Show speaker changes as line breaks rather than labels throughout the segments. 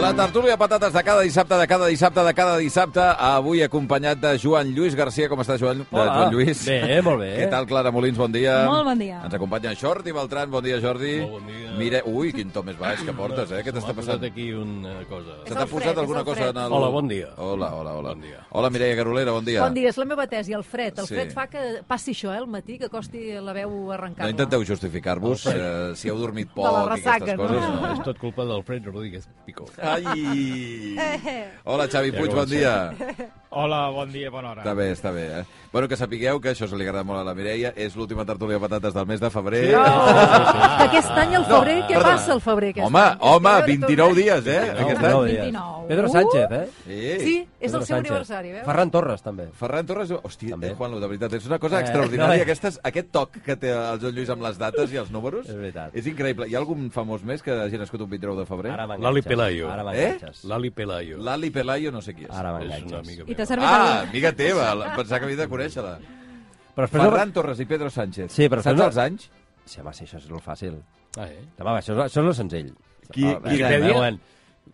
La tertúlia de patates de cada dissabte, de cada dissabte, de cada dissabte, avui acompanyat de Joan Lluís Garcia. Com està, Joan? De
Hola.
Joan Lluís.
Bé, molt bé.
Què tal, Clara Molins? Bon dia.
Molt bon dia.
Ens acompanya Jordi Beltran. Bon dia, Jordi.
Molt bon dia.
Mire... Ui, quin to més baix que portes, eh? Què t'està passant?
aquí una cosa.
Se t'ha posat alguna cosa en el...
Hola, bon dia.
Hola, hola, hola.
Bon dia.
Hola, Mireia Garolera, bon dia.
Bon dia, és la meva tesi, el fred. El
Sí.
fred fa que passi això, eh, al matí, que costi la veu
No
arrencar-la.
intenteu justificar-vos eh, si heu dormit
la
poc i aquestes
ressaca, no?
coses. No.
És tot culpa d'Alfred Rodríguez Picó.
Ai! Hola, Xavi Puig, bon
eh,
dia.
Hola, bon dia, bona hora.
Està bé, està bé. Eh? Bueno, que sapigueu que això se li agrada molt a la Mireia, és l'última tertúlia de patates del mes de febrer.
Oh, que aquest any, el febrer, què
perdona.
passa el febrer? Aquest
Home,
any?
home,
Espero que
29 dies, eh?
No,
Aquest
no,
any.
29.
Pedro Sánchez, eh?
Sí.
Sí, és el seu aniversari, veus?
Ferran Torres, també.
Ferran Torres, hòstia,
També.
eh, Juanlo, de veritat, és una cosa
Eh,
extraordinària.
no, eh.
Aquestes, aquest toc que té el Joan Lluís amb les dates i els números
És veritat.
és increïble. Hi ha algun famós més que hagi nascut un 29 de febrer?
Ara m'enganxes.
L'Ali Pelayo.
Ara m'enganxes.
L'Ali Pelayo.
L'Ali Pelayo no sé qui és.
Eh? Ara
És una
m'enganxes.
amiga
I t'ha
meva.
servit
Ah,
algun-
amiga teva. la- Pensava que havia de conèixer-la.
Però després...
Ferran Torres i Pedro Sánchez.
Sí, però
Saps
no-
els anys?
Sí, home, sí, això és molt fàcil.
Ah, eh?
Home, això, és- això és lo senzill.
Qui-
Ah,
qui
eh,
deia?
eh, moment.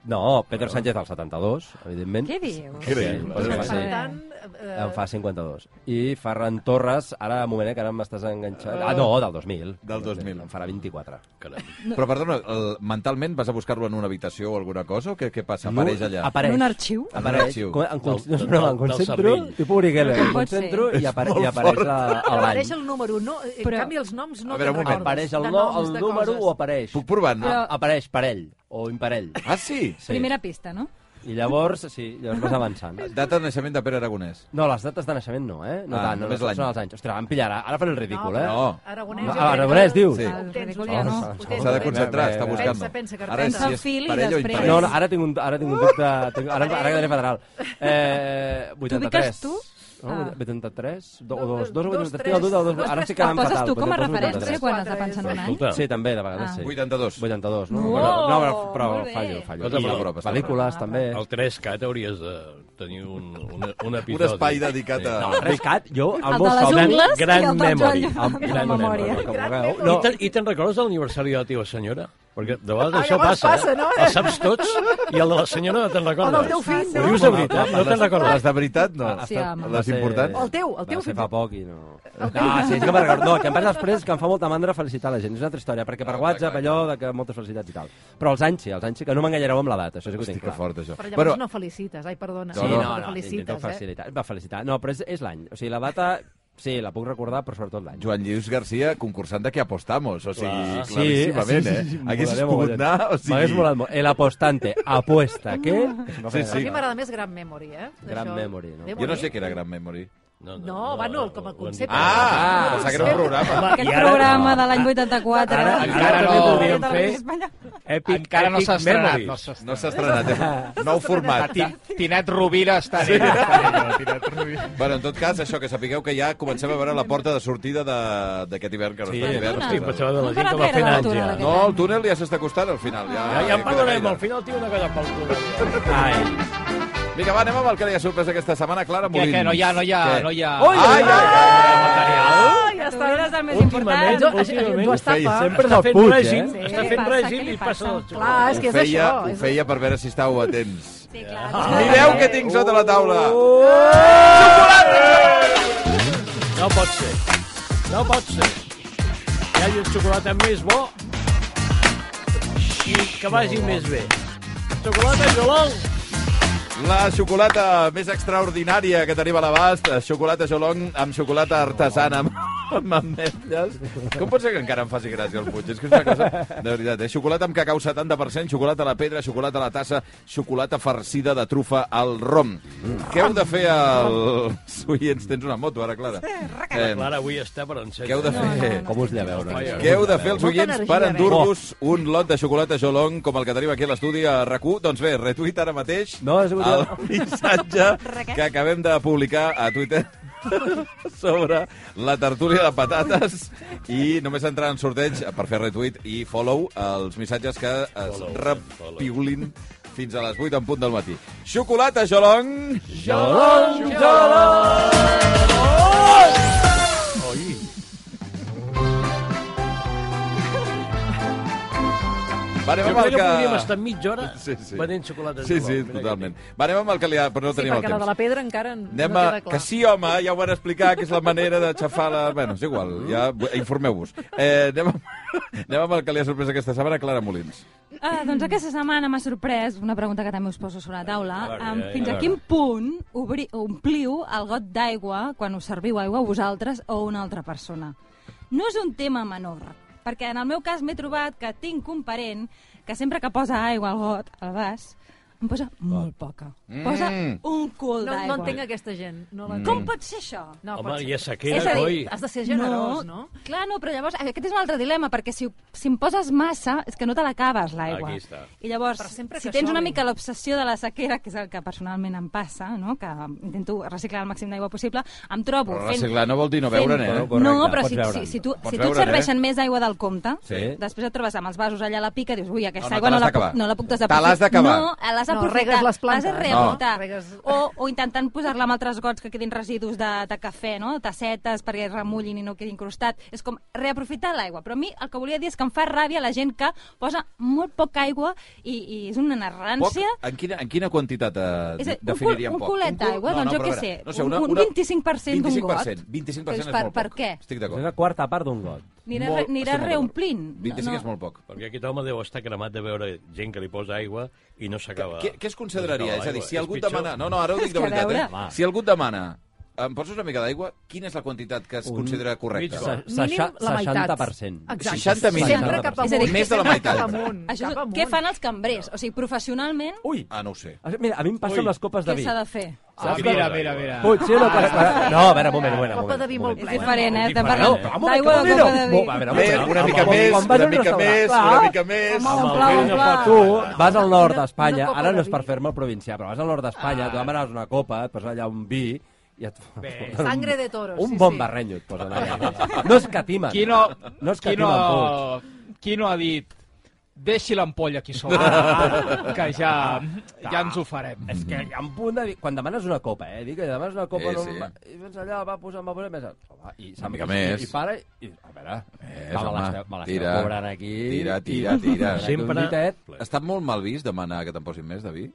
No, Pedro Sánchez al 72, evidentment.
Què dius?
Increïble.
Sí,
Per
sí.
tant, eh,
En fa 52. I Ferran Torres, ara, un moment, eh, que ara m'estàs enganxant... Ah, no, del 2000.
Del 2000.
En farà 24.
Caram.
Però, perdona, el, mentalment vas a buscar-lo en una habitació o alguna cosa? O què, què passa? Apareix allà?
Apareix.
En un arxiu?
Apareix.
arxiu.
Com- En, con-
Del- del-
no, em
del
concentro,
cervell.
i publiquem, em
Pot ser.
concentro i, apare i apareix a- a l'any.
apareix el número. No, eh, en
Però-
canvi, els noms no
A veure, un
te'n
moment.
recordes.
Apareix el,
De
no,
noms,
el
de
número
coses.
o apareix?
Puc provar-ne?
Però-
Apareix parell o imparell.
Ah, sí?
Sí.
Primera pista, no?
I llavors, sí, llavors vas avançant.
Data de naixement de Pere Aragonès.
No, les dates de naixement no, eh? No
Ah,
tant, no, no,
només l'any.
són els anys. Ostres, em pillarà. Ara faré el ridícul,
no,
eh?
No.
Aragonès,
No,
jo crec
Aragonès,
que
diu?
Sí.
el tens,
Ridícul
el
ja
tens,
no.
el
S'ha
tens,
S'ha de
el tens.
concentrar,
Bé,
està
bé, bé.
buscant-lo.
Pensa, pensa, que
Ara
pensa.
si és
Fil i
parell o
després.
imparell.
No, no, ara tinc un, ara tinc un dubte... Tinc, ara, ara quedaré federal. Eh, 83.
T'ubiques tu?
No,
Ah.
83? Do,
Dos,
o dos, dos, o
dos,
83?
tres,
No, dos, dos,
dos,
ara
tres,
sí que
Em poses
fatal.
tu com a
82,
referència? No sé
83.
quan has de pensar en un any.
Escolta,
Sí, també, de vegades
Ah.
sí.
82.
82, no?
Uau!
No, però, però
Molt bé.
fallo, fallo.
Escolta,
I
però-
pel·lícules, també.
al 3CAT hauries de tenir un, un, un
Un
episodi.
espai dedicat a...
No, rescat, jo... El,
El de les
gran-
ungles
gran
i el del
memory.
joll
Amb
amb la
gran
memòria.
memory.
Com vulgueu.
No.
No,
I te'n te recordes de l'aniversari de la teva senyora? Perquè de vegades
Ah,
això
llavors
passa,
passa, no?
Els saps tots i el de la senyora no te'n recordes.
O del teu fill, no?
Ho dius de veritat, no te'n
Les
recordes.
de veritat, no.
Ah,
Sí, home.
Les importants.
Oh,
O el teu, el teu
Va ser
fill.
fa poc i no... Ah, sí, sí que me'n recordo. No, que em passa després que em fa molta mandra felicitar la gent. És una altra història, perquè per WhatsApp allò de que moltes felicitats i tal. Però els anys sí, els anys sí, que no m'enganyareu amb l'edat, això sí que ho
Hosti,
tinc
que
clar.
fort, això.
Però
Bueno,
llavors no felicites, ai, perdona.
Sí,
Sí, no,
no,
no,
no
intento
felicites, eh?
felicitar. Va felicitar. No, però és, és l'any. O sigui, la data, sí, la puc recordar, però sobretot l'any.
Joan Lluís Garcia, concursant de què apostamos, o sigui,
Clar.
Sí,
claríssimament,
sí,
eh?
sí, sí, sí,
Haguessis
molaria
pogut
molt. eh?
anar, o
M'hagués
sigui...
molat molt. El apostante, apuesta, què?
Sí,
A
sí.
mi m'agrada més Gran Memory, eh?
Gran
Això.
Memory, no?
Déu
Jo no
meu.
sé què era Gran Memory.
No, va, no, com a concepte.
Ah,
Ah,
pensava que era un programa.
Aquest programa de l'any 84.
Ara,
Encara
encara
no
no
podríem fer
de la Televisió Espanyola.
Epic, Encara no
Epic
s'ha estrenat.
Memories.
No s'ha estrenat.
No s'ha estrenat, eh? Nou format.
Ti- Tinet Rovira està en ella. està en ella, Tinet Rovira.
Bueno, en tot cas, això, que sapigueu que ja comencem a veure la porta de sortida de- d'aquest hivern, que no
Sí,
està hivern.
estic
no està-
pensant de la
No
gent que
parla
va
gaire
fent
de la
anys ja.
Tura,
No, el túnel ja s'està acostant al final. Ja,
Ja, ja en
queda
parlarem,
gaire.
al final tinc una cosa pel túnel.
Ai,
Vinga, va, anem amb el que li ha sorprès aquesta setmana, Clara
Què,
Molins.
què, no hi ha, no hi ha,
Què?
no hi ha...
Ai, ai, ai, ai.
Ah, ja està. Tu eres el més
Últimament,
important.
Jo-
últimament,
jo estava-
sempre està
Ho
fent
feia.
règim,
Sí,
està
què li
fent
passa, què
règim
li
i
passa?
passa el xup.
Clar, és que
Ho
és
feia,
això.
ho
és-
feia per veure si estàveu atents.
Sí, clar.
Ah,
Mireu què tinc sota la taula.
Oh,
No pot ser. No pot ser. Hi hagi el xocolata més bo i que vagi més bé. Xocolata Jolong.
La xocolata més extraordinària que tenim a l'abast, eh, xocolata Jolong amb xocolata artesana. amb ametlles. Com pot ser que encara em faci gràcia el Puig? És que és una cosa... De veritat, eh? Xocolata amb cacau 70%, xocolata a la pedra, xocolata a la tassa, xocolata farcida de trufa al rom. Què heu de fer als oients? Tens una moto, ara, Clara. Eh,
Clara avui està per encendre.
què heu de fer?
Com us lleveu? No?
Vaja.
Què heu de fer els
Molta
oients
energia,
per
eh?
endur-vos un lot de xocolata Jolong com el que tenim aquí a l'estudi a rac Doncs bé, retuit ara mateix
No, és un-
el missatge que acabem de publicar a Twitter sobre la tertúlia de patates i només entrar en sorteig per fer retuit i follow els missatges que es
eh?
repiulin fins a les 8 en punt del matí. Xocolata Jolong! Va, anem
Jo
amb el
crec que
que...
podríem estar mitja hora
Sí, sí.
venent xocolata.
Sí, sí, totalment. Va, anem amb el que li ha... Però no
Sí,
tenim el
perquè la
temps.
de la pedra encara no
Anem
no
a...
queda clar.
Que sí, home, ja ho van explicar, que és la manera de xafar la... Bueno, és igual, ja informeu-vos. Eh, anem, amb... anem amb el que li ha sorprès aquesta setmana, Clara Molins.
Ah, doncs aquesta setmana m'ha sorprès una pregunta que també us poso sobre la taula.
veure,
Am,
ja,
fins
ja, ja.
a quin punt obri, ompliu el got d'aigua quan us serviu aigua a vosaltres o a una altra persona? No és un tema menor, perquè en el meu cas m'he trobat que tinc un parent que sempre que posa aigua al got, al vas, em posa molt poca. Posa
Mm.
un cul
No, no
d'aigua.
entenc aquesta gent. No l'entenc.
Com pot ser això?
No,
Home,
pot ser.
hi ha sequera,
És a dir,
coi.
has de ser generós, no?
Clar, no, però llavors aquest és un altre dilema, perquè si, si em poses massa és que no te l'acabes, l'aigua.
Aquí està.
I llavors,
Però sempre
si
que
tens una
sobri.
mica l'obsessió de la sequera, que és el que personalment em passa, no? que intento reciclar el màxim d'aigua possible, em trobo
Però
fent...
reciclar no vol dir no
fent-
beure-ne, eh?
No,
Correcte,
però
pots
si,
beure'n.
si, si, tu,
Pots eh?
si tu et
beure'n,
serveixen més aigua del compte,
Sí.
després et trobes amb els vasos allà a la pica i dius, ui,
No,
aquesta
no,
aigua
te
no
l'has
la, puc,
d'acabar.
no la puc
Te l'has
desaprofitar.
d'acabar.
No, eh, l'has
No,
d'aprofitar.
regues les
L'has de
plantes.
reaprofitar.
No. Regues-
O, o intentant posar-la amb altres gots que quedin residus de, de cafè, no? tassetes perquè remullin i no quedi incrustat. És com reaprofitar l'aigua. Però a mi el que volia dir és que em fa ràbia la gent que posa molt poca aigua i, i és una
Poc?
narrància.
En quina, en quina quantitat eh,
És a dir, un
definiríem
cul- un
poc?
culet
cul-
d'aigua, doncs jo
però
què
a veure,
sé, un- un 25% d'un got.
25%, 25% és
Doncs per-
molt
per
poc.
què?
Estic
És una
d'acord.
quarta part d'un got.
Anirà,
Molt-
re, anirà
estem d'acord.
reomplint.
25 és molt poc.
Perquè aquest home deu estar cremat de veure gent que li posa aigua i no s'acaba.
Què, què es consideraria?
No s'acaba
És a dir,
l'aigua.
si algú et
pitjor.
demana... No, no, ara ho dic de
que a
veritat,
veure-
eh? Si algú et demana em poses una mica d'aigua, quina és la quantitat que es considera correcta?
mig got.
Mínim la meitat.
60%.
Exacte.
60 mínim.
Sempre cap amunt.
És a dir,
més de la
sempre
meitat.
Cap amunt.
Això,
cap amunt.
què fan els cambrers? O sigui, professionalment,
Ui!
Ah, no ho sé.
Mira, a mi em passa
Ui.
amb les copes de
què
vi.
s'ha de fer?
Ah, mira, mira, mira.
Puig, sí o no passa? No, a veure, un moment, un moment. un
Copa de vi
moment.
molt
És
plena.
diferent, eh? Estem
diferent.
parlant
No, però
un
d'aigua
moment,
de
no.
copa de vi.
Bo, a veure,
Bé,
Home,
una
home,
mica
home,
més,
quan vas
una
a un
mica
restaurant,
més,
clar.
una mica més.
Home,
Amb el
un
vent
pla,
a
un
fotre.
pla.
Tu vas al nord
Ah, Una- una Ah.
d'Espanya,
copa
ara
de
no és per
vi.
fer-me el provincià, però vas al nord d'Espanya, tu demanes una copa, et posen allà un vi i et foten un-
Sangre de toros,
Un
sí,
bon
sí.
barrenyo et posen allà. No escatimen.
Qui no,
No
qui,
escatimen, Puig.
no, qui no ha dit deixi l'ampolla aquí sobre, ah, que ja, ja ens ho farem.
És que hi ha un punt de... dir- Quan demanes una copa, eh? Dic que demanes una copa...
Sí,
no,
sí.
va- I vens allà, va posant, va posant... Més... Home, I s'ha
mica més.
I para... I, a veure...
Més,
va, me
home,
l'esteu- me l'esteu
tira.
cobrant aquí...
Tira, tira, tira.
I...
Sempre-
Sempre... Un ditet,
Està molt mal vist demanar que te'n posin més de vi?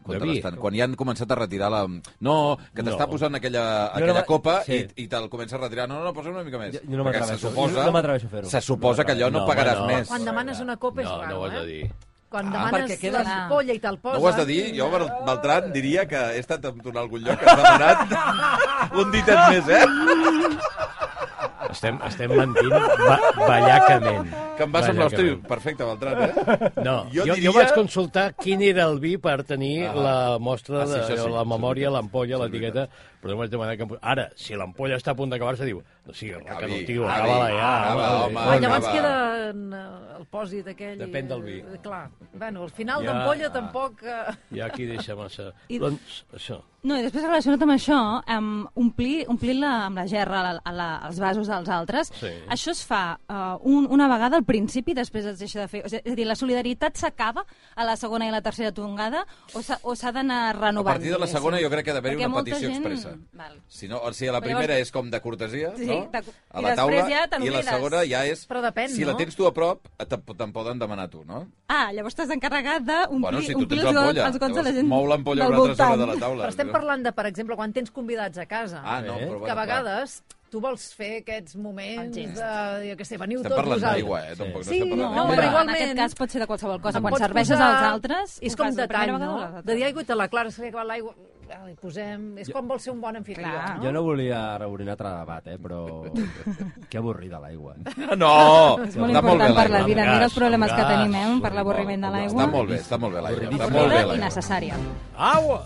Quan,
De
te
vi?
l'estan- quan ja han començat a retirar la... No, que t'està
No.
posant aquella, aquella
me-
copa
sí.
i, i te'l comença a retirar. No, no, no, posa'm una mica més.
Jo- jo no
Perquè
m'atreveixo.
se suposa-
Jo no m'atreveixo a fer-ho.
Se suposa que allò no,
No,
pagaràs
home, no.
més.
Quan demanes una copa és
No,
raro,
no ho has de
eh?
dir.
Quan
perquè
demanes
queda-
l'espolla i te'l posen...
No ho has de dir? Jo, Bal- Beltran, diria que he estat en un algun lloc que has demanat un ditet més, eh?
Estem, estem mentint ba ballacament.
Que em va semblar, hosti,
Ballacament.
perfecte, Beltran, eh?
No,
Jo
jo, jo,
diria-
jo vaig consultar quin era el vi per tenir ah. la mostra,
Ah, sí,
de,
això sí,
la
això és
memòria,
veritat.
l'ampolla,
Això és
l'etiqueta, però no vaig demanar que... em pos- Ara, si l'ampolla està a punt d'acabar-se, diu, no sigui raca,
Acabi,
no, tio,
acabi,
acaba-la ja.
acaba, home.
Quan Ah, llavors
Acaba.
queda en, eh, el pòsit aquell...
Depèn del
eh,
vi.
Clar. Bueno, al final
Ja.
d'ampolla tampoc... eh,
I aquí deixa massa...
I-
Doncs, això.
No, i després relacionat amb això, amb omplir, omplir la, amb la gerra la, la, els vasos dels altres,
Sí.
això es fa uh, un, una vegada al principi, després es deixa de fer. O sigui, és a dir, la solidaritat s'acaba a la segona i la tercera tongada o s'ha o s'ha d'anar
A
renovant?
partir de la
diguéssim?
segona jo crec que ha d'haver-hi
Perquè
una
molta
petició
gent-
expressa.
Val.
Si no, o sigui, la
Però
primera
llavors-
és com de cortesia,
Sí,
no?
de-
A
i
la
després
taula,
ja te
i la
n'oblides.
segona ja és...
Però depèn,
si
no?
la tens tu a prop, te'n te'n poden demanar tu, no?
Ah, llavors t'has d'encarregar d'omplir
Bueno, si tu
omplir
tens
els, gots,
l'ampolla,
els gots de la
llavors
gent
mou l'ampolla a
del
una altra zona
voltant.
de la taula.
Però estem parlant de, per exemple, quan tens convidats a casa,
Ah, no, però...
que a
bueno, clar.
vegades tu vols fer aquests
El
moments
gest.
de, jo què sé, veniu
Estem
tots
parlant
vosaltres.
d'aigua, eh? Tampoc no
Sí,
estem
No,
parlant
No,
no,
de-
però
però
igualment... En aquest
igualment-
cas pot ser de qualsevol cosa.
Em
Quan
pots
serveixes
posar-
als altres...
És
ho
com
fas la
detall,
primera vegada
no?
o la
De dir
segona?
aigua i te la Clara se li acaba l'aigua. ah, li posem... És com vol ser un bon anfitrió,
Clar.
no?
Jo no volia reobrir un altre debat, eh, però... que avorrida l'aigua.
No!
És molt
està molt bé
important per la
l'aigua.
vida. Mira els
gas,
problemes
amb
que
gas,
tenim, eh, per l'avorriment de l'aigua.
Està molt bé, està molt bé l'aigua. Està molt bé
Avorrida i
l'aigua.
necessària.
Au!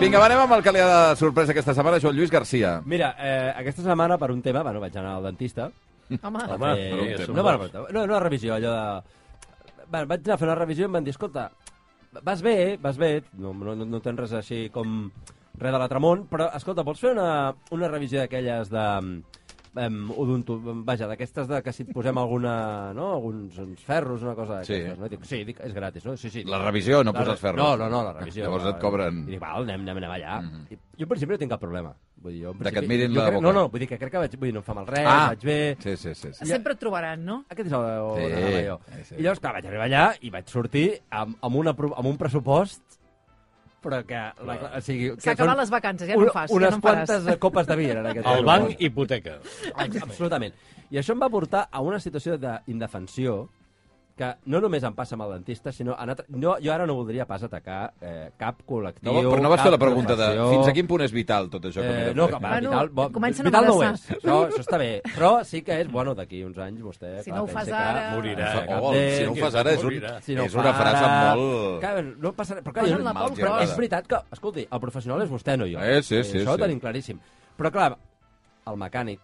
Vinga, va, anem amb el que li ha de sorpresa aquesta setmana, Joan Lluís Garcia.
Mira, eh, aquesta setmana, per un tema, bueno, vaig anar al dentista.
Home,
a
Home,
fer-
per un tema.
no, bueno, però- no, no, una revisió, allò de... Bueno, vaig anar a fer una revisió i em van dir, escolta, vas bé, vas bé, no, no, no, no tens res així com res de l'altre món, però, escolta, vols fer una, una revisió d'aquelles de... Um, odonto, vaja, d'aquestes de que si et posem alguna, no? alguns uns ferros, una cosa
Sí.
d'aquestes, no? I dic, sí, dic, és gratis, no? Sí, sí.
La revisió, no
La
posar
re-
els ferros.
No, no, no, la revisió.
Llavors et cobren... Mhm.
I dic, val, anem, anem, anem allà. I Jo, en principi, no tinc cap problema. Vull dir, jo, en
De que et
principi-
mirin
jo
la
crec-
boca.
No, no, vull dir que crec que vaig, vull dir, no em fa mal res,
Ah.
vaig bé...
Sí, sí, sí. sí.
sempre et trobaran, no?
Aquest és el on
Sí,
anava jo.
sí, sí.
I llavors, clar, vaig arribar allà i vaig sortir amb, amb, una, pro- amb un pressupost però que... La, o sigui, que
S'ha acabat
són
les vacances, ja no ho fas, ja
Unes
no en faràs.
quantes copes de vi en aquest
El banc
aeroport.
hipoteca.
Absolutament. I això em va portar a una situació d'indefensió que no només em passa amb el dentista, sinó... En altre... no, jo ara no voldria pas atacar eh, cap col·lectiu,
No, però no vas fer la
cap
pregunta de
professió.
fins a quin punt és vital tot això que m'he
Eh,
de
no,
fer.
que, va,
Bueno,
vital, bo,
Ah, comencen a
vital no ho és.
amenaçar.
Això, això està bé. Però sí que és, bueno, d'aquí uns anys vostè...
Si
clar,
no ho
pensa
fas
que
ara-
Morirà.
Fa-
Oh, si no ho fas ara és, un,
Morirà.
Si no
és una
fa
frase
ara-
molt...
Clar, no passa res. Però, clar,
Posen
jo-
la
Mal
pau
però
germada.
gros.
és veritat que, escolti, el professional és vostè, no jo.
Eh, sí,
Eh,
sí,
Això
sí.
ho tenim claríssim. Però, clar, el mecànic,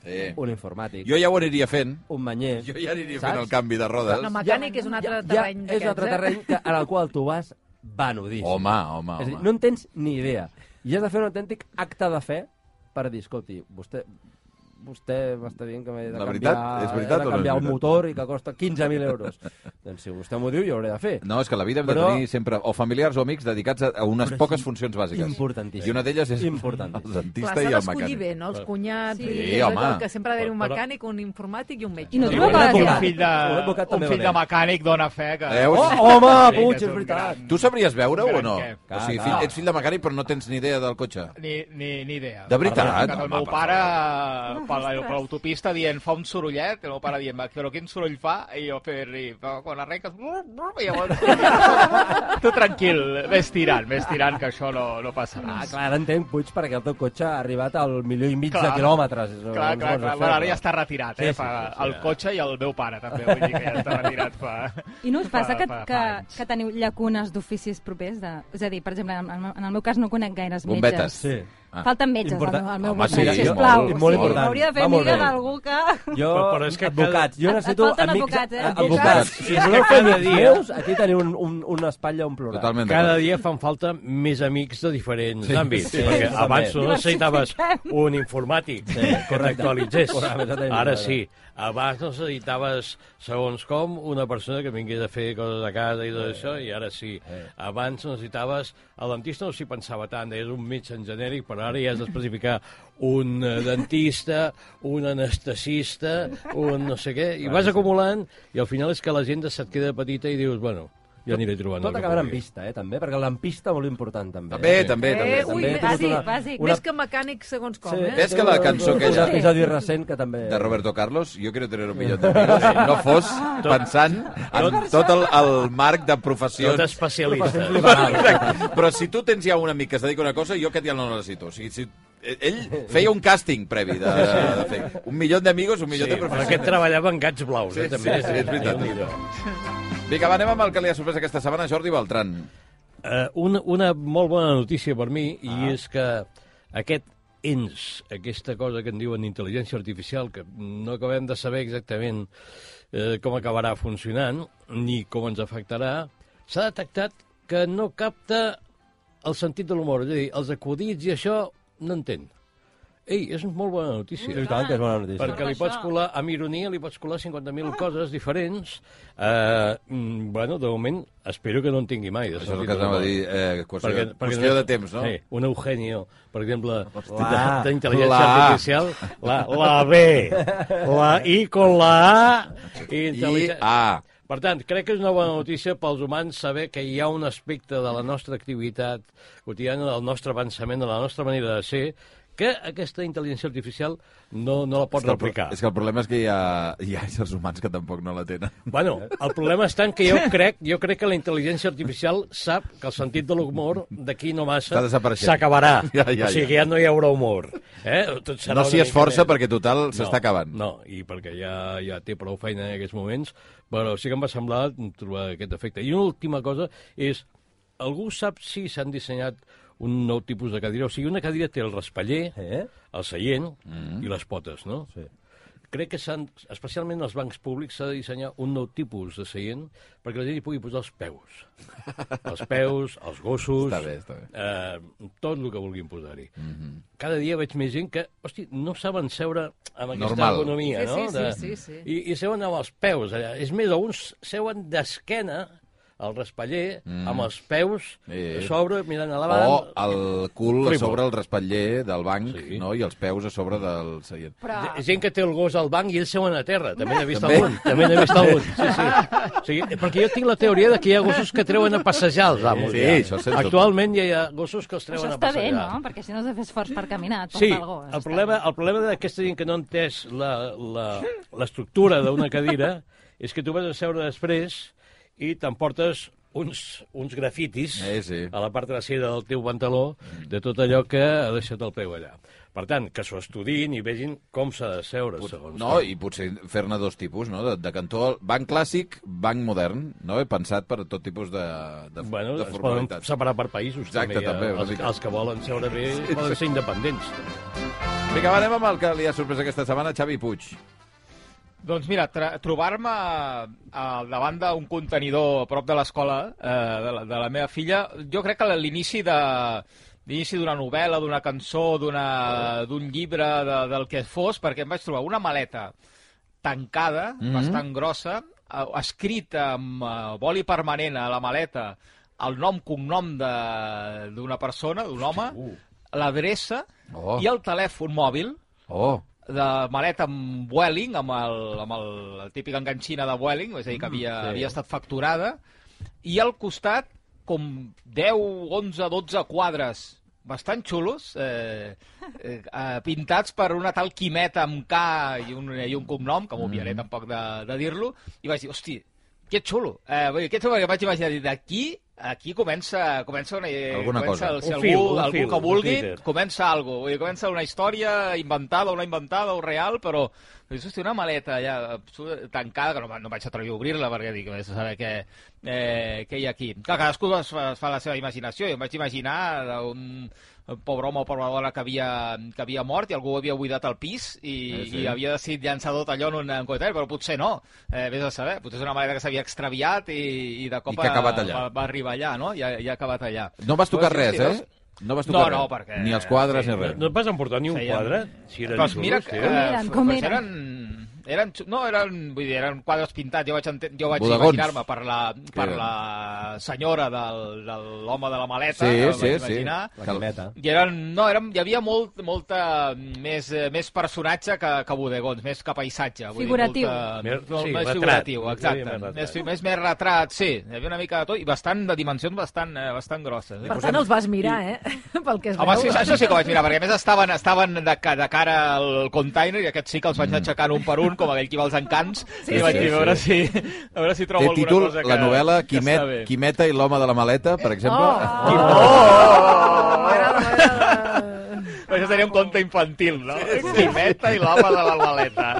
Sí.
un informàtic,
Eh. Jo ja ho aniria fent.
un manyer...
Jo ja aniria
saps?
fent el canvi de rodes.
No, mecànic és un altre terreny
és
d'aquests,
un altre
eh?
terreny que, en el qual tu vas banudíssim.
Home, home,
És a dir,
home.
no en tens ni idea. I has de fer un autèntic acte de fe per dir, escolti, vostè, vostè m'està dient que m'he de
La
canviar,
veritat? És veritat
he
o no és
de canviar un
veritat?
motor i que costa 15.000 euros. doncs si vostè m'ho diu, jo ho hauré de fer.
No, és que a la vida hem de
Però-
tenir sempre o familiars o amics dedicats a, a unes poques funcions bàsiques.
importantíssim.
I una d'elles és
Importantíssim.
el dentista
Clar, s'ha
i el
d'escollir
mecànic.
bé, no? Els cunyats,
Sí.
vull dir,
Sí,
és allò
home.
que sempre ha d'haver un
Però-
mecànic, un informàtic i un metge. Eh,
I no
Sí,
trobo
bueno,
que
un
la
fill
seva...
de,
Un advocat
un
també
fill
valent.
de mecànic dona fe que...
Veus?
Oh, home,
Sí,
Puig,
que
és
un
veritat.
gran-
Tu sabries veure-ho o no?
Gran què?
O sigui,
Clar,
fill,
clar.
ets fill de mecànic però no tens ni idea del cotxe.
Ni, ni, ni idea.
De veritat?
Perquè El
Home,
meu
per
pare, per la- per l'autopista, dient, fa un sorollet, i el meu pare dient, "Va, però quin soroll fa? I jo fer-li, "Però quan arrenques... brr, brr", I llavors... tu tranquil, ves tirant, ves tirant, que això no, no passa
Ah,
res.
clar, ara entenc, Puig, perquè el teu cotxe ha arribat al milió i mig
Clar.
de quilòmetres. Doncs, No,
Clar,
no
clar,
pots
clar.
fer-ho.
Bueno, ara ja està retirat, eh?
Sí, sí,
fa
sí, sí,
el
ja.
cotxe i el meu pare, també. Vull dir que ja està retirat fa...
I no us passa
fa-
que,
fa- fa
que,
anys.
que teniu llacunes d'oficis propers? De... És a dir, per exemple, en, en el meu cas no conec gaires
Bombetes.
metges.
Sí.
Ah.
Falten metges
Important.
al, al meu
Home,
voltant,
sí,
sisplau.
molt,
O
molt
sigui,
important.
M'hauria de fer
Va molt
amiga
bé.
d'algú que...
Jo,
Però- però és que cada-
advocats, jo
Et- Ah, et
necessito
falten
amics...
advocats, eh? Ah,
a- Advocats.
Advocats.
Si voleu fer
Cada
amics
dia.
meus, aquí teniu un, un, un espatlla, un plural.
Totalment
Cada
d'acord.
dia fan falta més amics de diferents
Sí,
àmbits,
sí,
perquè
sí,
abans
també.
no necessitaves
Diversifiquem.
un informàtic
Sí,
que
correcte.
t'actualitzés.
Correcte, exactament.
Ara sí. Abans no necessitaves, segons com, una persona que vingués a fer coses a casa i tot això, i ara sí. Abans no necessitaves... El dentista no s'hi pensava tant, és un metge en genèric, però ara ja has d'especificar un eh, dentista, un anestesista, un no sé què, i vas acumulant, i al final és que l'agenda se't queda petita i dius, bueno, ja aniré trobant el
Tot
que
acabarà en
pugui.
pista, eh, també, perquè l'empista molt important, també.
També, també, també.
Eh, ui,
també.
bàsic,
Una-
bàsic.
una-
Més que mecànic, segons com, eh?
Ves que la cançó aquella-
Un episodi recent que també...
Eh.
de Roberto Carlos, jo quiero tener un millón de amigos, no fos pensant en tot el, el marc de
Tot
professions.
especialista.
Exacte. Però si tu tens ja un amic que es dedica a una cosa, jo aquest ja no necessito. O sigui, si ell feia un càsting previ de, de fer un milió d'amigos, un milió
Sí,
de
però aquest
professionals.
treballava en gats blaus,
Sí,
eh,
sí,
també.
sí, és veritat.
Déu-n'hi-do.
Vinga, va, anem amb el que li ha sorprès aquesta setmana, Jordi Beltran.
Eh, una, una molt bona notícia per mi, i és que aquest ens, aquesta cosa que en diuen intel·ligència artificial, que no acabem de saber exactament eh, com acabarà funcionant, ni com ens afectarà, s'ha detectat que no capta el sentit de l'humor, és a dir, els acudits i això no entén. Ei, és molt bona notícia.
Sí, tant, que és bona notícia.
Perquè li pots colar, amb ironia, li pots colar 50.000 coses diferents. Eh, mm, bueno, de moment, espero que no en tingui mai. De
Això és el
sentit
que anava a
del
dir,
món.
eh, qüestió, qüestió de temps, no?
Sí, un Eugenio, per exemple,
La.
d'intel·ligència
La.
artificial, la, la B, la I con la A, i
I,
intel·ligència...
ah,
Per tant, crec que és una bona notícia pels humans saber que hi ha un aspecte de la nostra activitat quotidiana, del nostre pensament, de la nostra manera de ser, que aquesta intel·ligència artificial no, no la pot
que el pro-
replicar.
És que el problema és que hi ha, hi ha éssers humans que tampoc no la tenen.
Bueno, el problema està en que jo crec, jo crec que la intel·ligència artificial sap que el sentit de l'humor d'aquí no massa
Està desapareixent.
s'acabarà.
Ja, ja,
o sigui
ja.
que ja no hi haurà humor. Eh? Tot serà
No
una
s'hi
mica
esforça
més.
perquè, total, s'està acabant.
No, i perquè ja, ja té prou feina en aquests moments, però sí que em va semblar trobar aquest efecte. I una última cosa és, algú sap si s'han dissenyat un nou tipus de cadira? O sigui, una cadira té el raspaller,
Eh?
el seient mm. i les potes, no? Sí. Crec que s'han, especialment als bancs públics, s'ha de dissenyar un nou tipus de seient perquè la gent hi pugui posar els peus. els peus, els gossos...
Està bé, està bé.
Eh, tot el que vulguin posar-hi. Mm
Mhm.
-hmm. Cada dia veig més gent que, hosti, no saben seure amb aquesta
Normal.
ergonomia,
Sí, sí,
no?
sí, sí, sí.
I, I seuen amb els peus allà. És més, alguns seuen d'esquena al raspaller,
Mhm.
mm. amb els peus
Eh.
a sobre, mirant a l'avant...
O el cul a
Frívol.
sobre el raspatller del banc
Sí.
no? i els peus a sobre del seient.
Però...
Ge- Gent que té el gos al banc i ells seuen a terra. També n'he vist algun. També n'he vist algun. Sí, sí. O sigui, perquè jo tinc la teoria de que hi ha gossos que treuen a passejar els amos.
Sí,
ja.
això sens
Actualment ja hi ha gossos que els treuen
Això
a
està bé,
passejar.
no? Perquè si no has de fer esforç per caminar, et
Sí,
porta el gos.
el problema, el problema d'aquesta gent que no ha entès la- la- l'estructura d'una cadira és que tu vas a seure després i t'emportes uns, uns grafitis
Eh, sí.
a la part trasera del teu pantaló de tot allò que ha deixat el peu allà. Per tant, que s'ho estudin i vegin com s'ha de seure, segons
No, i potser fer-ne dos tipus, no? De, de cantó, al- banc clàssic, banc modern, no? He pensat per a tot tipus de, de,
Bueno,
de
es poden
formalitats.
separar per països,
Exacte,
també. hi ha-
també, una
els,
mica.
els que volen seure bé poden ser independents.
Vinga, va, anem amb el que li ha sorprès aquesta setmana, Xavi Puig.
Doncs mira, tra- trobar-me eh, al davant d'un contenidor a prop de l'escola eh, de, la, de la meva filla, jo crec que l'inici de l'inici d'una novel·la, d'una cançó, d'una- d'un llibre, de, del que fos, perquè em vaig trobar una maleta tancada, mm -hmm. bastant grossa, eh, escrita amb eh, boli permanent a la maleta el nom, cognom de- d'una persona, d'un home, l'adreça
Oh.
i el telèfon mòbil,
Oh,
de maleta amb Vueling, amb el, amb el, la típica enganxina de Vueling, és a dir, que havia, sí. havia estat facturada, i al costat, com 10, 11, 12 quadres bastant xulos, eh, eh, eh, pintats per una tal Quimeta amb K i un, i un cognom, que m'obviaré mm. tampoc de, de dir-lo, i vaig dir, hosti, que xulo. Eh, vull dir, que xulo perquè vaig imaginar, dir, d'aquí aquí comença, comença una...
Alguna cosa.
comença, el- Si
Un
algú,
fil, un
algú
fil,
que
un
vulgui,
Twitter.
comença algo, vull dir, comença una història inventada, una inventada o real, però és hosti, una maleta ja absolut- tancada, que no, va- no vaig atrevir a obrir-la perquè dic, vés a saber què, eh, què hi ha aquí. Clar, cadascú es fa, es fa la seva imaginació, jo em vaig imaginar un pobre home o pobra dona que havia, que havia mort i algú ho havia buidat al pis i, eh,
Eh, sí.
sí. i havia decidit llançar tot allò en un, en un coetari, però potser no, eh, vés a saber, potser és una maleta que s'havia extraviat i, i de cop
que ha acabat allà.
Va, va arribar allà, no? I ha, i ha acabat allà.
no vas tocar
Però, sí,
res,
sí,
eh? No vas
No,
tocar
no,
res.
perquè-
Ni els quadres
sí,
ni res.
No et vas emportar ni un
Feien-
quadre? Si eren
Però Doncs mira,
xulos,
que,
tenen?
eren?
eh,
Com
però
eren?
eren? Eren, xu- no, eren, vull dir, eren quadres pintats. Jo vaig, enten- jo vaig
Bodegons.
imaginar-me per la, per
eren?
la senyora del, de l'home de la maleta.
Sí,
em
sí,
vaig
sí.
imaginar.
La quimeta.
I eren, no, eren, hi havia molt, molta, més, eh, més personatge que, que bodegons, més que paisatge. Vull
Figuratiu.
Dir, molta,
Més-
molt
sí,
més
retrat.
figuratiu,
Hi
exacte.
havia més
Més,
retrat.
més, més retrat, sí. Hi havia una mica de tot i bastant, de dimensions bastant, eh, bastant grosses. Eh?
Per tant, els vas mirar, eh? Pel que es
Home,
veu.
sí, això sí que ho vaig mirar, perquè a més estaven, estaven de, ca- de cara al container i aquests sí que els vaig aixecant un per un, com aquell qui va als encants, sí, i vaig
Mm. sí,
dir, a veure, si, a veure si trobo
Té
alguna
títol
cosa que...
la novel·la
que està
Quimet,
bé.
Quimeta i l'home de la maleta, per exemple.
Oh! M'agrada, m'agrada.
Això seria un conte infantil, no? Sí, sí. Quimeta i l'home de la maleta.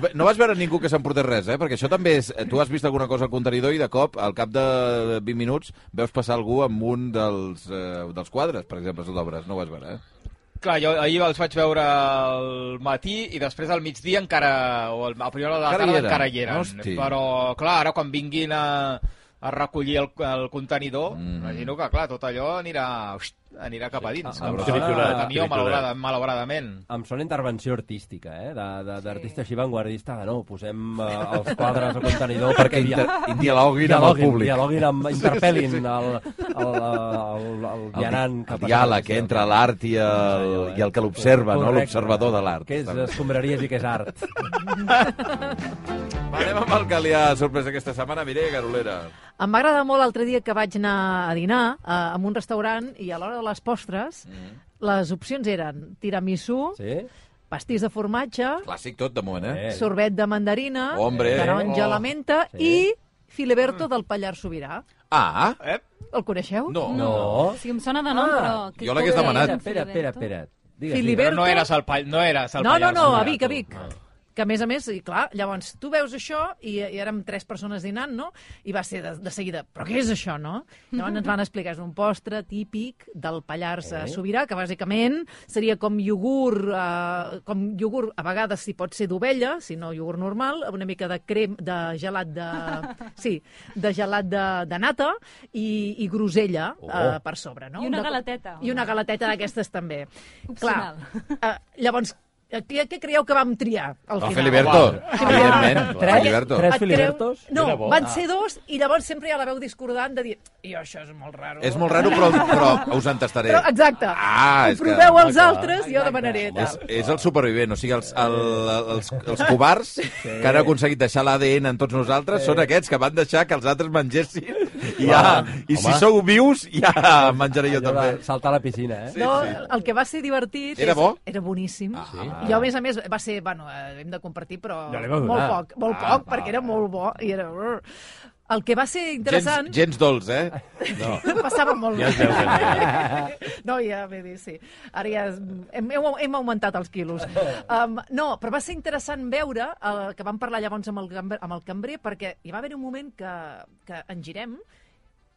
I No vas veure ningú que s'emportés res, eh? Perquè això també és... Tu has vist alguna cosa al contenidor i de cop, al cap de 20 minuts, veus passar algú amb un dels, eh, dels quadres, per exemple, d'obres. No ho vas veure, eh?
Clar, jo ahir els vaig veure al matí i després al migdia encara, o al- a primera hora de la
Encara hi
tarda
eren.
encara hi eren.
Hosti.
Però, clar, ara quan vinguin a, a recollir el, el contenidor, mm. imagino que, clar, tot allò anirà, uxt, anirà cap a dins.
Ah,
cap
ah,
a-
triturat,
al camió,
triturat.
malaurada, malauradament.
Em sona intervenció artística, eh? de- de- D'artista així vanguardista, de no, posem eh, els quadres al contenidor perquè dia,
I dialoguin amb el públic.
dialoguin amb, interpel·lin el, el, el, el, vianant. que
el
passa
diàleg
per la
entre
ciutat.
l'art i, el, i el que l'observa, no?
Doncs eh? Correcte.
l'observador de l'art.
Què és escombraries i què és art?
Va, Anem amb el que li ha sorprès aquesta setmana, Mireia Garolera.
Em va agradar molt l'altre dia que vaig anar a dinar eh, a un restaurant i a l'hora de les postres mm. Les opcions eren tiramisú, sí.
Eh?
Sí?
pastís de formatge,
Clàssic tot, de moment, eh?
Eh.
sorbet de mandarina,
Hombre.
taronja
Oh.
a la menta sí. i Filiberto del Pallars Sobirà.
Ah,
Eh?
El coneixeu?
no.
No.
O sigui, em sona de nom,
Ah,
però...
jo l'hagués demanat.
Espera, espera, espera. Digues,
Filiberto.
digues.
Però no eres al Pall, no eres al
No, no,
Pallars
no, a
Sobirà,
Vic,
tu.
a Vic. Que a més a més, i clar, llavors tu veus això i, i érem tres persones dinant, no? I va ser de, de seguida, però què és això, no? Llavors ens van explicar, és un postre típic del Pallars eh? Sobirà, que bàsicament seria com iogurt, eh, com iogurt, a vegades si pot ser d'ovella, si no iogurt normal, una mica de crem, de gelat de... Sí, de gelat de, de nata i, i grosella eh, per sobre, no?
I una
De-
galateta.
I una galeteta d'aquestes també.
Opcional.
Clar, eh, llavors, eh, què, què creieu que vam triar al
El
final?
Filiberto,
Sí,
evidentment.
va.
Tres-
Filiberto.
tres-
Et creu-
Filibertos?
No,
Era bo.
van
Ah.
ser dos i llavors sempre ja la veu discordant de dir i això és molt raro.
És molt raro, però, però us en tastaré.
Però, exacte.
Ah,
Ho
és que-
proveu
Ah,
els
clar.
altres i jo demanaré. i
És,
Tal.
és el supervivent, o sigui, els, el, els, els covards sí. que han aconseguit deixar l'ADN en tots nosaltres sí. són aquests que van deixar que els altres mengessin i, ja, i si
Home.
sou vius ja menjaré jo
Allò de
també.
Saltar a la piscina, eh?
No, el que va ser divertit...
Era
és-
bo?
Era boníssim. Ah,
sí?
Jo, a més a més, va ser... Bueno, eh, hem de compartir, però
Ja li vau
molt
donar.
poc, molt
Ah,
poc, perquè era molt bo. I era... El que va ser
Gens,
interessant...
gens dolç, eh? No.
Passava molt
Ja es veu que
bé. No, ja ve dir, sí. Ara ja es- hem, hem, hem augmentat els quilos. Um, no, però va ser interessant veure el, que vam parlar llavors amb el, gambre- amb el cambrer perquè hi va haver un moment que, que en girem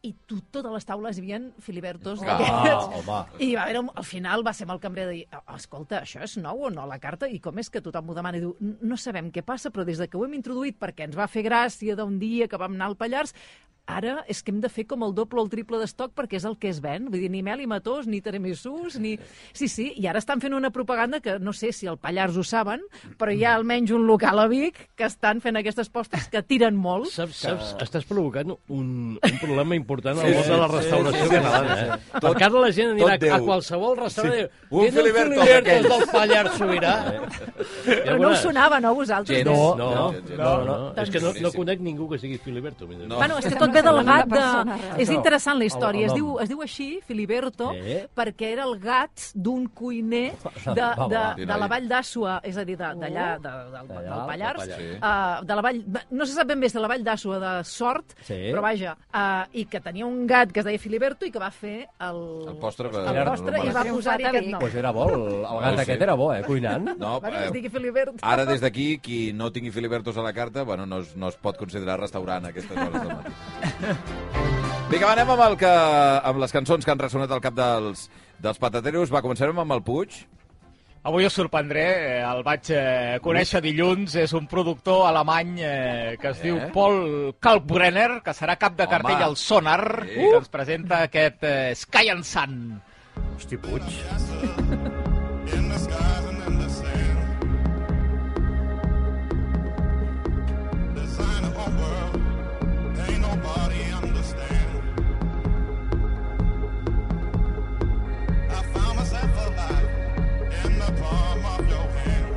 i tu, totes les taules hi havia filibertos
Ah,
d'aquests.
home.
I va haver, al final va ser amb el cambrer de dir "Ah, escolta, això és nou o no la carta? I com és que tothom ho demana? I diu, "N- no sabem què passa, però des de que ho hem introduït perquè ens va fer gràcia d'un dia que vam anar al Pallars, ara és que hem de fer com el doble o el triple d'estoc perquè és el que es ven. Vull dir, ni mel i matós, ni tiramisús, ni... Sí, sí, i ara estan fent una propaganda que no sé si al Pallars ho saben, però hi ha almenys un local a Vic que estan fent aquestes postres que tiren molt.
Saps, saps, estàs provocant un, un problema important al món de la
sí,
restauració
sí,
catalana.
sí,
Eh?
sí. Tot-
Perquè ara la gent anirà
tot
a
Déu.
qualsevol restaurant i diu
Un
"Tenen
Filiberto d'aquells."
Filibertos del Pallars Sobirà.
Però no us sonava, no, a vosaltres?
Gens.
No,
No,
no,
no,
no,
gens,
no,
no.
no. És que no, no
Boníssim.
conec ningú que sigui Filiberto. mira.
No.
Bueno, és que tot ve del
Una
gat de...
persona real.
És interessant la
El-
història.
el
Es diu,
nom.
es diu així, Filiberto,
Eh?
perquè era el gat d'un cuiner de,
Va,
de,
va.
de la vall d'Àssua, és a dir, de- d'allà, de, del,
D'allà,
del Pallars,
Oh. del Pallars.
eh, de la vall... de- No se sap ben bé si de la vall d'Àssua de sort,
Sí.
però vaja, eh, i que tenia un gat que es deia Filiberto i que va fer el...
El postre per-
el postre i va
normal.
posar-hi aquest nom.
Pues era bo, el, el gat
No ho sé.
aquest era bo, eh, cuinant.
No,
Bueno, que es
eh,
digui Filiberto.
ara des d'aquí, qui no tingui Filibertos a la carta, bueno, no es, no es pot considerar restaurant a aquestes hores del matí. Vinga, va, anem amb, el que, amb les cançons que han ressonat al cap dels, dels patateros. Va, començarem amb el Puig.
Avui us sorprendré, eh, el vaig eh, conèixer dilluns, és un productor alemany eh, que es
Eh?
diu Paul Kalkbrenner, que serà cap de
Home.
cartell al Sonar,
Sí.
i que ens presenta aquest eh, Sky and Sun.
Hosti, Puig.
in the skies and in the sand. Design of a world, ain't nobody understand. I found myself alive in the palm of your hand.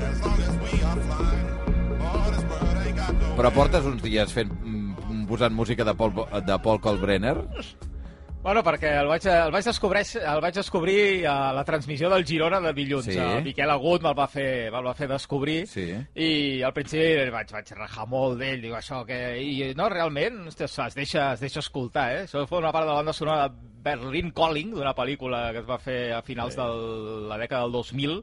As long as we are flying, all this world ain't got no
Però
end.
portes uns dies fent, mm, posant música de Paul, de Paul Colbrenner?
Bueno, perquè el vaig, el vaig, descobrir, el vaig descobrir a la transmissió del Girona de dilluns.
Sí.
Sí. El Miquel Agut me'l va, fer, me'l va fer descobrir
Sí.
i al principi vaig, vaig rajar molt d'ell. Dic, això que... I no, realment, hòstia, es deixa, es deixa escoltar, eh? Això fou una part de la banda sonora de Berlin Calling, d'una pel·lícula que es va fer a finals sí. de la dècada del 2000,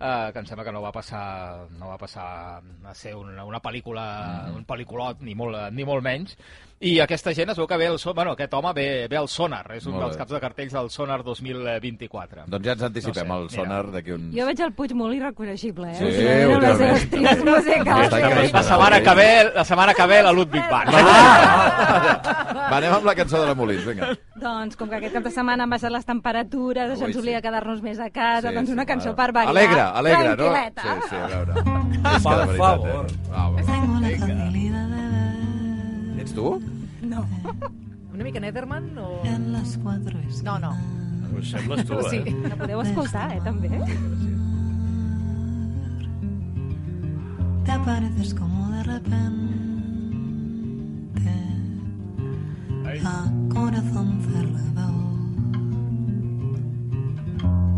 eh, que em sembla que no va passar, no va passar a ser una, una pel·lícula, mm. un pel·liculot, ni molt, ni molt menys. I aquesta gent es veu que ve el, so- bueno, aquest home ve, ve al Sonar, és un
Molt bé.
dels caps de cartells del Sonar 2024.
Doncs ja ens anticipem
No
no
sé,
sé, al sonar d'aquí uns...
Jo veig el Puig molt irreconeixible, eh?
Sí,
O sigui, mira les
totalment.
seves tries musicals.
Està increïble.
La setmana que ve, la setmana que ve la Ludwig Bach.
Ah, Va, anem amb la cançó de la Molins, vinga.
Doncs, com que aquest cap de setmana han baixat les temperatures, això
Ui,
ens obliga
sí.
a quedar-nos més a casa,
Sí,
doncs
sí,
una cançó
va.
per variar.
Alegre, alegre, no?
Tranquil·leta.
Sí, sí, a veure. És que de veritat, eh?
favor.
Va, va. Vinga. Ets tu?
No.
Una mica Nederman o... No, no.
Pues sembles tu,
Sí.
eh?
La podeu escoltar, eh, també.
Te apareces como de repente.
Ahí
a Ah, corazón cerrado.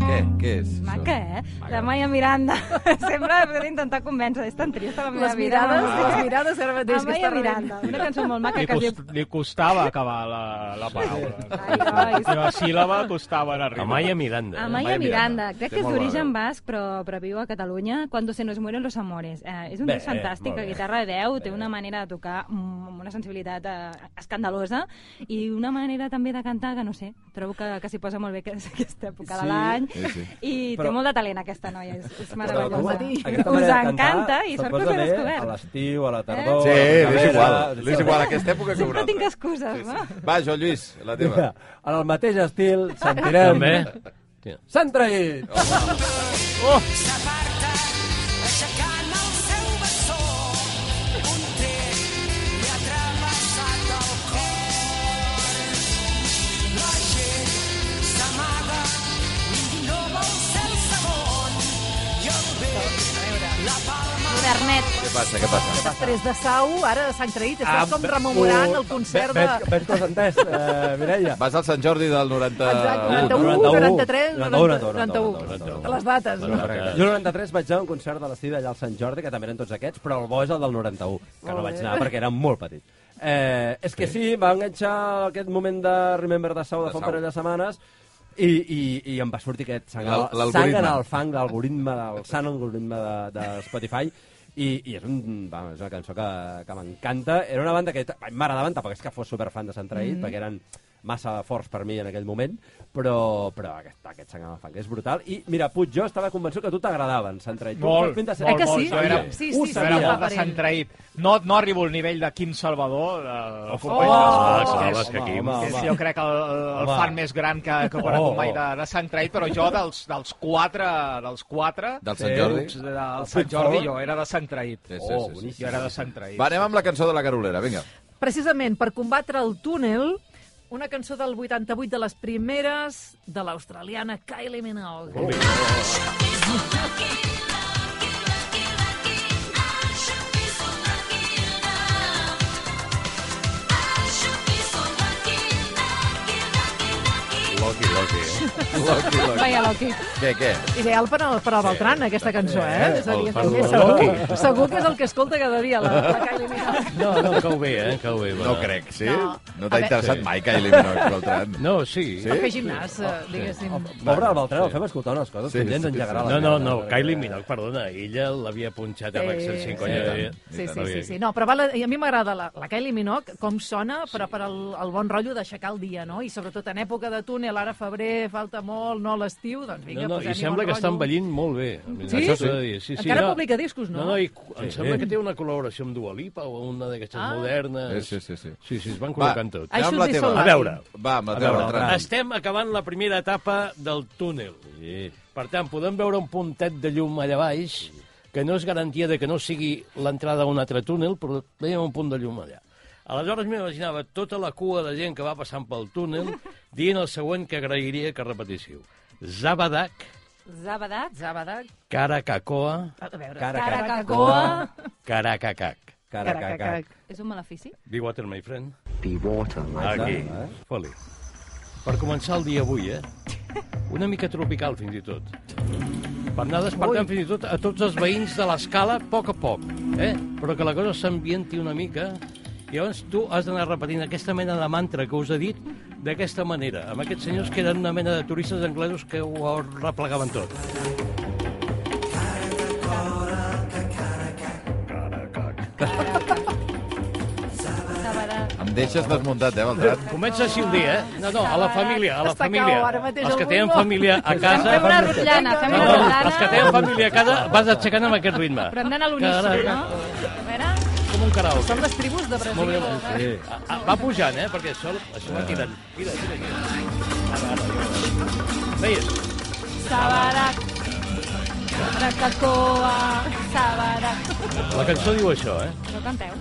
Què? Què és? això?
Maca, eh? La Maia Miranda. Sempre he d'intentar convèncer. És tan trista la meva
Les
vida.
mirades,
no?
Ah.
les mirades ara mateix
La
que
Ah, Maia
està
Miranda. Una cançó molt
Ah,
maca
Li,
que es
cost,
diu...
li costava acabar la, la paraula.
ai,
La meva síl·laba costava anar arriba.
Amaya Miranda. eh?
Amaya Miranda, crec
Té
que és
molt
d'origen
bona
basc, però, però viu a Catalunya. Cuando se nos mueren los amores. Eh, és un
Bé,
disc fantàstic,
molt
la
bé.
guitarra de 10, té una manera de tocar mm, amb una sensibilitat eh, escandalosa i una manera també de cantar que, no sé, trobo que, que s'hi posa molt bé que- aquesta època de l'any.
Sí, sí.
I té
Però-
molt de talent aquesta noia, és, és
com-
meravellosa.
aquesta
Us
manera de cantar
encanta i
se't
sort que
posa
us he
bé A
descobert. Eh?
l'estiu, a la tardor...
Sí,
a
li
la
és
primavera,
igual.
sí,
Li és igual aquesta època que una
Sempre tinc
altra.
excuses, sí, sí.
Va, Joan Lluís, la teva.
Mira, en el mateix estil sentirem...
També.
S'han traït!
S'aparta, aixecant el seu bessó. Un tret li ha travessat el cor. La gent s'amaga, ningú no vol ser el segon. I el vent, la palma...
Modernet.
Què passa, què passa?
Després de Sau, ara s'han traït. Estàs
Ah,
com
bé,
rememorant
oh,
el concert de...
Veig, veig que ho has entès, eh, Mireia.
Vas al Sant Jordi del 90...
uh,
Exacte, 91,
91,
93,
91,
91. Les dates, no?
Jo el 93 vaig anar a un concert de l'estiu d'allà al Sant Jordi, que també eren tots aquests, però el bo és el del 91, que no vaig anar perquè era molt petit. Eh, és que sí, va enganxar aquest moment de Remember de Sau de
De
fa un
Sau.
parell de setmanes i, i, i em va sortir aquest sang, al-
L'al-
sang en
l'algoritme.
el fang, l'algoritme, del- el sant algoritme de, de Spotify, i, i és, un, va, és una cançó que, que m'encanta. Era una banda que t- m'agradaven, tampoc és que fos superfan de Sant Traït, mm
Mm-hmm.
-hmm. perquè eren massa forts per mi en aquell moment, però, però aquest, aquest sang en el fang és brutal. I mira, Puig, jo estava convençut que a tu t'agradaven Sant Traït. Tu
Molt,
fas pinta de ser-
Eh que
molt,
sí?
molt. Jo era,
Sí,
Ho
sí, sí.
jo era
sabia.
molt descentraït. No, no arribo al nivell de Quim Salvador, de oh, company
clar,
dels
clar,
Bosques,
és que Quim-
que és, jo crec, el, el
Home.
fan més gran que, que he conegut
Oh,
mai
oh.
de, de Sant Traït, però jo dels, dels quatre... Dels quatre
Del Sant Jordi?
de- Del Sant Jordi jo era de Sant Traït.
Sí, sí, sí, sí.
Jo era de Sant Traït.
Va, anem amb la cançó de la Carolera, vinga.
precisament per combatre el túnel, una cançó del 88 de les primeres de l'australiana Kylie Minogue.
Loki, Loki. Loki, Loki.
Vaja, Loki.
Què, què?
Ideal per al, per al Beltran, aquesta cançó, eh? És a dir,
el
també
Fernando
segur, segur que és el que escolta cada dia, la, la Kylie Minogue.
No, no, cau bé, eh? Cau bé. va.
No crec, sí?
No.
No
A
t'ha
veure-
interessat mai, Kylie Minogue, Beltran?
No, sí.
Sí? Fer gimnàs, eh, diguéssim.
Pobre el Beltrán, el fem escoltar unes coses
Sí,
que ja ens
sí,
engegarà
sí.
la
No, no,
merda,
no,
perquè-
Kylie Minogue, perdona, ella l'havia punxat amb accent 50.
Eh, Sí, sí, sí, sí. No, però val, a- i a mi m'agrada la, la Kylie Minogue, com sona, però per el, el bon rotllo d'aixecar el dia, no? I sobretot en època de túnel, ara febrer, falta molt, no l'estiu, doncs vinga,
No, no,
posem-hi
i
bon
sembla que està
rotllo.
envellint molt bé.
Sí?
Això s'ha de dir. Sí, sí,
Encara
no.
publica discos, no?
No, no, i cu- em sembla que té una col·laboració amb Dua Lipa o una d'aquestes
Ah.
Sí,
modernes.
sí, sí, sí.
Sí, sí, es van col·locant tot.
Ai,
Anem amb la
Should Be
teva.
So
A veure,
Va, amb la
a
teva,
veure,
Beltran.
estem acabant la primera etapa del túnel.
Sí.
Per tant, podem veure un puntet de llum allà baix, que no és garantia de que no sigui l'entrada a un altre túnel, però veiem un punt de llum allà. Aleshores m'imaginava tota la cua de gent que va passant pel túnel dient el següent que agrairia que repetíssiu. Zabadak,
Zabadat,
Zabadag.
Caracacoa,
A veure,
Cara, cara,
Caracacoa...
Caracacac.
cara,
cara, cara,
cara, cara.
És un malefici?
Be water, my friend.
Be water, my
Aquí. Foli. Per començar el dia avui, eh? Una mica tropical, fins i tot. Per anar despertant, fins i tot, a tots els veïns de l'escala, a poc a poc, eh? Però que la cosa s'ambienti una mica. I llavors tu has d'anar repetint aquesta mena de mantra que us he dit d'aquesta manera, amb aquests senyors que eren una mena de turistes anglesos que ho replegaven tot.
Zabadat.
Em deixes desmuntat, eh, Beltran?
Comença així un dia, eh? No, no, a la família, a la
Està cau,
família.
ara mateix
Els que
el
tenen
Bruno.
família a casa...
Fem una rotllana, fem
No,
una
no, els que tenen
rotllana...
família a casa vas aixecant amb aquest ritme.
Però hem d'anar a l'unísson, no? A veure...
Com un karaoke.
Són les tribus de Brasil.
Molt bé, molt bé. Ah, ah, Va pujant, eh? Perquè això, això va tirant. Mira, mira, mira. Veies?
Sabarat, Caracacoa, Sabarat...
La cançó diu això, eh?
No canteu.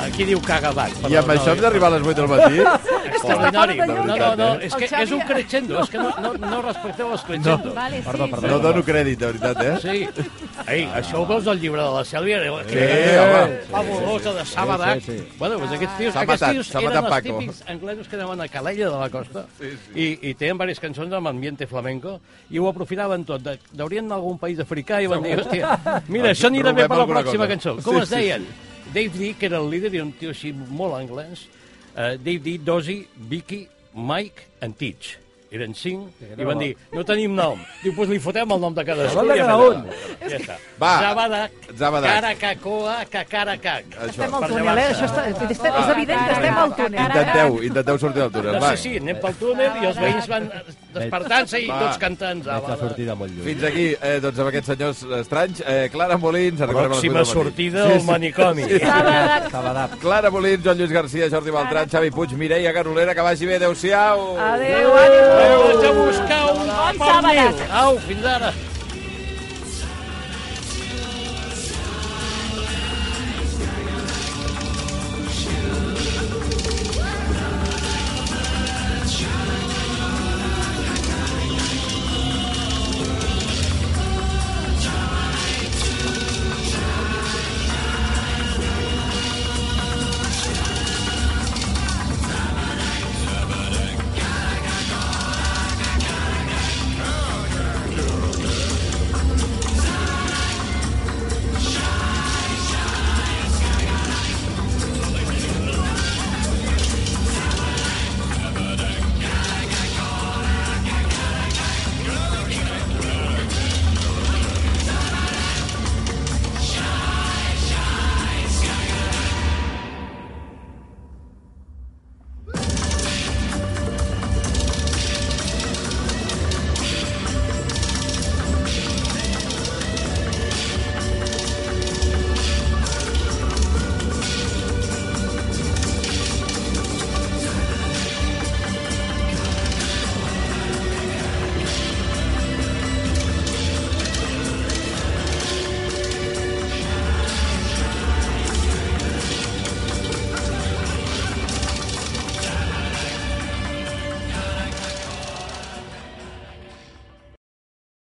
Aquí diu cagabat.
I amb això hem d'arribar a les 8 del matí?
Extraordinari.
Està fora de
eh? No, no,
lloc,
no,
eh?
és
El
que
Xavi-
és un crescendo. És que no, no, no respecteu els crescendos.
Vale,
Perdó,
sí,
perdó.
No dono crèdit, de veritat, eh?
Sí. Ei, això ho veus al llibre de la Sèlvia? Que
Sí, home.
fabulosa de Sabadac.
Sí, sí,
Bueno, doncs aquests tios,
S'ha
aquests
matat,
tios
s'ha
eren
matat
els
Paco.
típics anglesos que anaven a Calella de la costa i, i tenen diverses cançons amb ambiente flamenco i ho aprofitaven tot. De- Deurien anar a algun país africà i van dir, hòstia, mira,
Doncs
això anirà bé
trobem
per la
alguna
pròxima
cosa.
cançó.
Sí,
Com es
sí,
deien? Dave Dee, que era el líder, i un tio així molt anglès. Eh, Dave Dee, Dozy, Vicky, Mike and Teach. Eren cinc, i van dir, no tenim nom. Diu, doncs li fotem el nom de cadascú.
Nom
i
de
ja
cada
està.
un.
Ja està.
Va.
Zabadac,
Zabadac.
Caracacoa, Cacaracac.
Això.
Estem al túnel, eh? Això està, estem, és evident que estem al túnel.
Intenteu, intenteu sortir del túnel,
No
Doncs va.
sé, sí, anem pel túnel i els veïns van despertant-se i
Va.
tots cantant
Veig la
Zabadac.
sortida molt lluny.
Fins aquí, eh, doncs, amb aquests senyors estranys. Eh, Clara Molins, arribarem a les 8
Pròxima
del matí.
sortida al manicomi.
Sabadab.
Clara Molins, Joan Lluís Garcia, Jordi Beltran, Xavi Puig, Mireia Garolera, que vagi bé, adeu-siau.
Adéu, adéu.
Vaig a buscar un pernil. Au, fins ara.